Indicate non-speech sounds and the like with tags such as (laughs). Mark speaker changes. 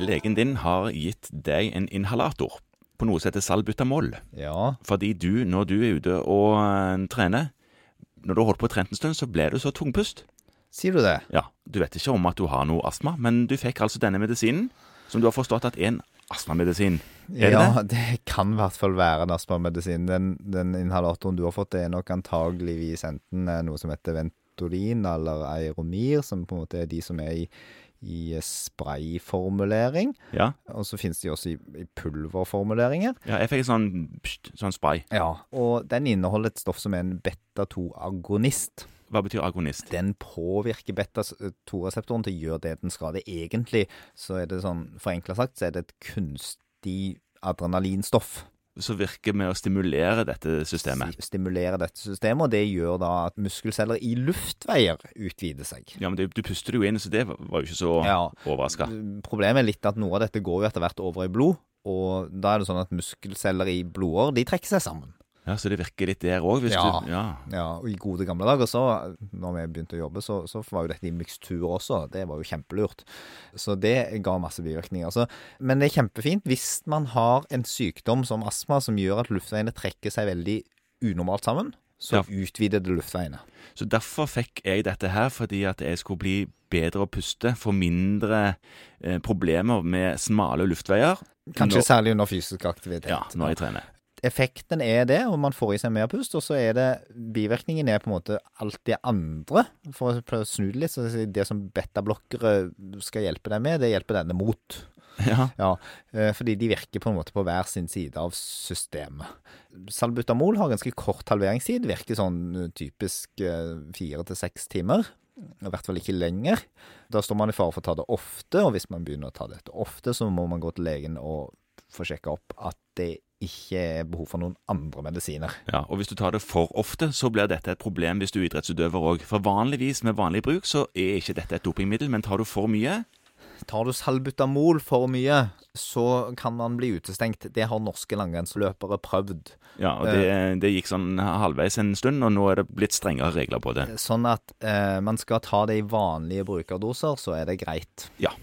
Speaker 1: Legen din har gitt deg en inhalator på noe som heter salbutamol.
Speaker 2: Ja.
Speaker 1: Fordi du, når du er ute og eh, trener Når du har holdt på å trene en stund, så ble du så tungpust.
Speaker 2: Sier du det?
Speaker 1: Ja, Du vet ikke om at du har noe astma, men du fikk altså denne medisinen, som du har forstått at er en astmamedisin. Er det
Speaker 2: ja, det? kan i hvert fall være en astmamedisin. Den, den inhalatoren du har fått, det er nok antageligvis enten eh, noe som heter Ventolin eller Aeromir, som på en måte er de som er i, i sprayformulering.
Speaker 1: Ja,
Speaker 2: Og så finnes de også i, i pulverformuleringer.
Speaker 1: ja jeg fikk en sånn, pst, sånn spray.
Speaker 2: Ja. Og den inneholder et stoff som er en beta-2-agonist.
Speaker 1: Hva betyr agonist?
Speaker 2: Den påvirker beta-2-reseptoren til å gjøre det den skal. Det egentlig, så er det sånn, forenkla sagt, så er det et kunstig adrenalinstoff.
Speaker 1: Som virker med å stimulere dette systemet.
Speaker 2: sti- Stimulere dette systemet, og det gjør da at muskelceller i luftveier utvider seg.
Speaker 1: Ja, men det, Du puster det jo inn, så det var jo ikke så
Speaker 2: Ja.
Speaker 1: overraska.
Speaker 2: Problemet er litt at noe av dette går jo etter hvert over i blod, og da er det sånn at muskelceller i blodår, de trekker seg sammen.
Speaker 1: Ja, så det virker litt der òg, hvis
Speaker 2: Ja.
Speaker 1: du Ja.
Speaker 2: Ja, og i gode gamle dager, så, når vi begynte å jobbe, så, så var jo dette i mikstur også. Det var jo kjempelurt. Så det ga masse bivirkninger. Så, men det er kjempefint hvis man har en sykdom som astma som gjør at luftveiene trekker seg veldig unormalt sammen. Så
Speaker 1: Ja.
Speaker 2: utvider det luftveiene.
Speaker 1: Så derfor fikk jeg dette her, fordi at jeg skulle bli bedre å puste, få mindre eh, problemer med smale luftveier
Speaker 2: Kanskje
Speaker 1: Nå-
Speaker 2: særlig under fysisk aktivitet.
Speaker 1: ja, når jeg trener. (laughs)
Speaker 2: Effekten er det, og man får i seg mer pust, og så er det bivirkningen er på en måte alt det andre. For å prøve å snu det litt, så det som betablokkere skal hjelpe deg med, det hjelper denne mot.
Speaker 1: Ja.
Speaker 2: Ja, eh, fordi de virker på en måte på hver sin side av systemet. Salbutamol har ganske kort halveringstid, virker sånn eh, typisk eh, fire til seks timer. I hvert fall ikke lenger. Da står man i fare for å ta det ofte, og hvis man begynner å ta dette ofte, så må man gå til legen og få sjekka opp at det ikke er behov for noen andre medisiner.
Speaker 1: Ja, og hvis du tar det for ofte, så blir dette et problem hvis du er idrettsutøver òg. For vanligvis med vanlig bruk så er ikke dette et dopingmiddel, men tar du for mye
Speaker 2: Tar du salbutamol for mye, så kan man bli utestengt. Det har norske langrennsløpere prøvd.
Speaker 1: Ja, og det, det gikk sånn halvveis en stund, og nå er det blitt strengere regler på det.
Speaker 2: Sånn at eh, man skal ta det i vanlige brukerdoser, så er det greit.
Speaker 1: Ja.